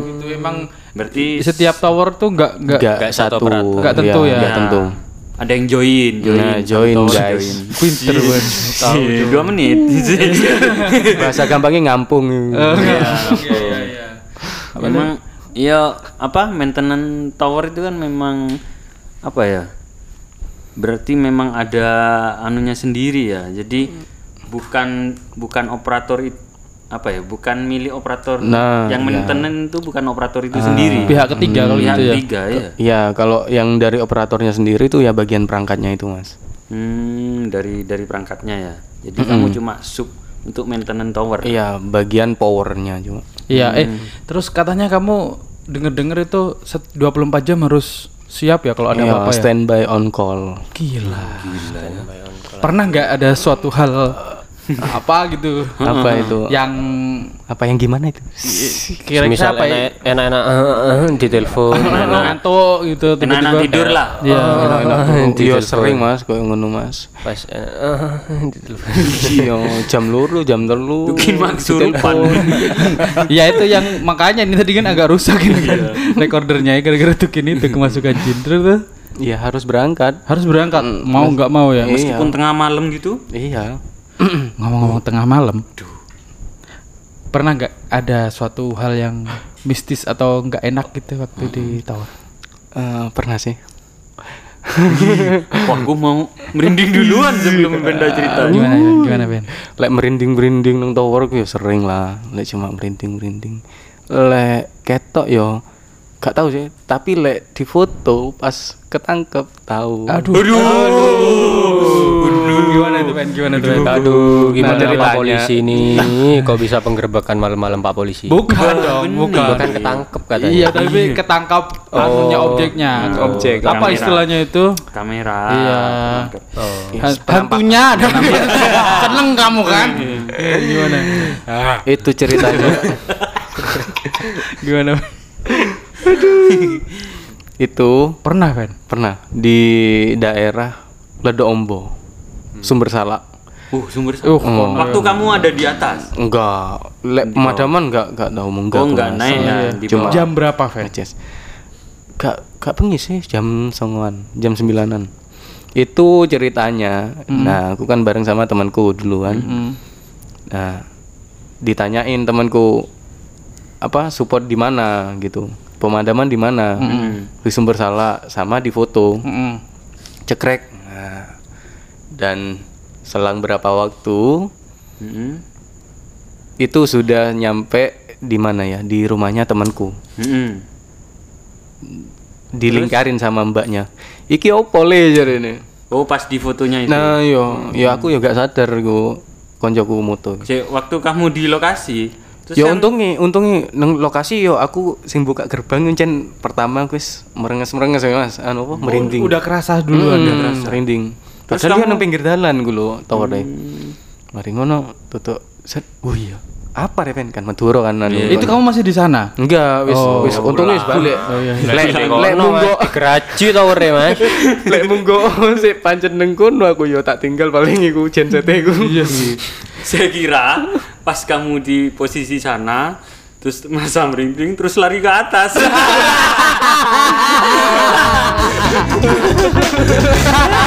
[SPEAKER 1] Gitu emang
[SPEAKER 3] Berarti
[SPEAKER 1] setiap tower tuh nggak nggak
[SPEAKER 4] Nggak satu. Iya,
[SPEAKER 1] Nggak tentu ya.
[SPEAKER 4] Nggak tentu.
[SPEAKER 3] ada yang join,
[SPEAKER 1] Iya.
[SPEAKER 3] join.
[SPEAKER 4] Nah, join guys.
[SPEAKER 1] pinter banget.
[SPEAKER 3] Tahu,
[SPEAKER 1] Iya.
[SPEAKER 3] dua menit. Iya.
[SPEAKER 4] Bahasa gampangnya ngampung.
[SPEAKER 1] Iya.
[SPEAKER 3] memang ya apa maintenance tower itu kan memang apa ya? Berarti memang ada anunya sendiri ya. Jadi bukan bukan operator it- apa ya? Bukan milik operator.
[SPEAKER 4] Nah,
[SPEAKER 3] yang maintenance itu bukan operator itu
[SPEAKER 1] iya.
[SPEAKER 3] sendiri.
[SPEAKER 1] Ah. Pihak ketiga kalau
[SPEAKER 3] Pihak
[SPEAKER 1] gitu ya.
[SPEAKER 3] ketiga ya.
[SPEAKER 4] Ya kalau yang dari operatornya sendiri itu ya bagian perangkatnya itu mas.
[SPEAKER 3] Hmm, dari dari perangkatnya ya. Jadi kamu cuma sub untuk maintenance tower.
[SPEAKER 4] Iya bagian powernya cuma.
[SPEAKER 1] Iya, eh terus katanya kamu denger-denger itu set- 24 jam harus siap ya kalau ada
[SPEAKER 4] Iya
[SPEAKER 1] apa-apa ya.
[SPEAKER 4] standby on call.
[SPEAKER 1] Gila. ya. Pernah nggak ada suatu hal apa gitu
[SPEAKER 4] Apa itu?
[SPEAKER 1] yang
[SPEAKER 4] Apa yang gimana itu?
[SPEAKER 1] kira-kira
[SPEAKER 2] Misal
[SPEAKER 1] apa ya?
[SPEAKER 2] enak- enak-enak eh, eh, eh, di telepon.
[SPEAKER 1] ngantuk gitu
[SPEAKER 3] Enak-enak tidur lah.
[SPEAKER 1] Iya.
[SPEAKER 4] Iya sering mas, kau ngono mas.
[SPEAKER 2] Pas eh, eh, eh, di telepon.
[SPEAKER 4] Iya jam luru, jam telu.
[SPEAKER 3] Mungkin maksurupan.
[SPEAKER 1] Iya itu yang makanya ini tadi kan agak rusak ini kan recordernya ya gara-gara tukin itu kemasukan jin terus tuh
[SPEAKER 4] Iya harus berangkat.
[SPEAKER 1] harus berangkat mau nggak mau ya
[SPEAKER 3] Meskipun tengah malam gitu.
[SPEAKER 4] Iya.
[SPEAKER 1] ngomong-ngomong tengah malam pernah nggak ada suatu hal yang mistis atau nggak enak gitu waktu di tower
[SPEAKER 4] Eh, pernah sih.
[SPEAKER 3] Wah, gua mau merinding duluan sebelum benda cerita.
[SPEAKER 1] gimana Ben? gimana Ben
[SPEAKER 4] Lek merinding merinding nang tower ku ya sering lah. Lek cuma merinding merinding. Lek ketok yo gak tahu sih tapi lek di foto pas ketangkep tahu
[SPEAKER 1] Aduh. Aduh. Gimana itu men? Gimana itu men?
[SPEAKER 2] Aduh, gimana
[SPEAKER 1] Nah,
[SPEAKER 2] Pak
[SPEAKER 1] ceritanya.
[SPEAKER 2] Polisi ini? Kok bisa penggerbekan malam-malam Pak Polisi?
[SPEAKER 1] Bukan dong, bukan.
[SPEAKER 2] Bahkan ketangkep katanya.
[SPEAKER 1] Iya, tapi ketangkap anunya objeknya.
[SPEAKER 4] objek,
[SPEAKER 1] Apa
[SPEAKER 3] kamera.
[SPEAKER 1] istilahnya itu?
[SPEAKER 3] kamera
[SPEAKER 1] Iya.
[SPEAKER 4] Ya,
[SPEAKER 1] Han- Hantunya ada. Seneng kamu kan? Gimana?
[SPEAKER 4] itu ceritanya
[SPEAKER 1] Gimana?
[SPEAKER 4] itu
[SPEAKER 1] Pernah kan?
[SPEAKER 4] pernah di daerah Ledombo sumber salak Oh.
[SPEAKER 3] uh sumber
[SPEAKER 1] Uh,
[SPEAKER 3] waktu kamu ada di atas
[SPEAKER 4] enggak lek pemadaman enggak enggak tahu enggak
[SPEAKER 3] oh enggak naik ya di
[SPEAKER 4] Cuma-
[SPEAKER 3] bawah.
[SPEAKER 1] jam berapa, Fen?
[SPEAKER 4] Ngeces. Gak gak bengi sih jam songoan, jam sembilanan. Itu ceritanya. Nah, aku kan bareng sama temanku duluan. Nah, ditanyain temanku apa support di mana gitu. Pemadaman di mana? Di sumber salah sama di foto.
[SPEAKER 1] Mm-mm.
[SPEAKER 4] Cekrek. Nah, dan selang berapa waktu
[SPEAKER 3] Mm-mm.
[SPEAKER 4] itu sudah nyampe di mana ya? Di rumahnya temanku.
[SPEAKER 3] Mm-mm.
[SPEAKER 4] dilingkarin sama mbaknya iki opo le jar ini
[SPEAKER 3] oh pas di fotonya itu
[SPEAKER 4] nah yo yo
[SPEAKER 1] Hmm.
[SPEAKER 4] aku yo gak sadar ku koncoku moto
[SPEAKER 3] Cek, waktu kamu di lokasi terus
[SPEAKER 4] yo
[SPEAKER 3] kan-
[SPEAKER 4] untungnya untungnya neng lokasi yo aku sing buka gerbang encen pertama aku wis merenges merenges mas anu apa merinding
[SPEAKER 1] Oh, Udah kerasa dulu
[SPEAKER 4] Hmm, merinding padahal dia nang pinggir dalan ku lo tau deh
[SPEAKER 1] Hmm.
[SPEAKER 4] mari ngono tutup set oh iya apa repen kan Maduro kan anu
[SPEAKER 1] Iya. Itu kamu Oh. masih di sana?
[SPEAKER 4] enggak wis wis untungnya wis balik
[SPEAKER 1] iya,
[SPEAKER 4] lek lek munggo
[SPEAKER 2] Keracu tau re, Mas.
[SPEAKER 4] Lek munggo sik pancen neng kono aku yo tak tinggal paling iku genset iku. Iya sih.
[SPEAKER 3] saya kira pas kamu di posisi sana terus masa merinding terus lari ke atas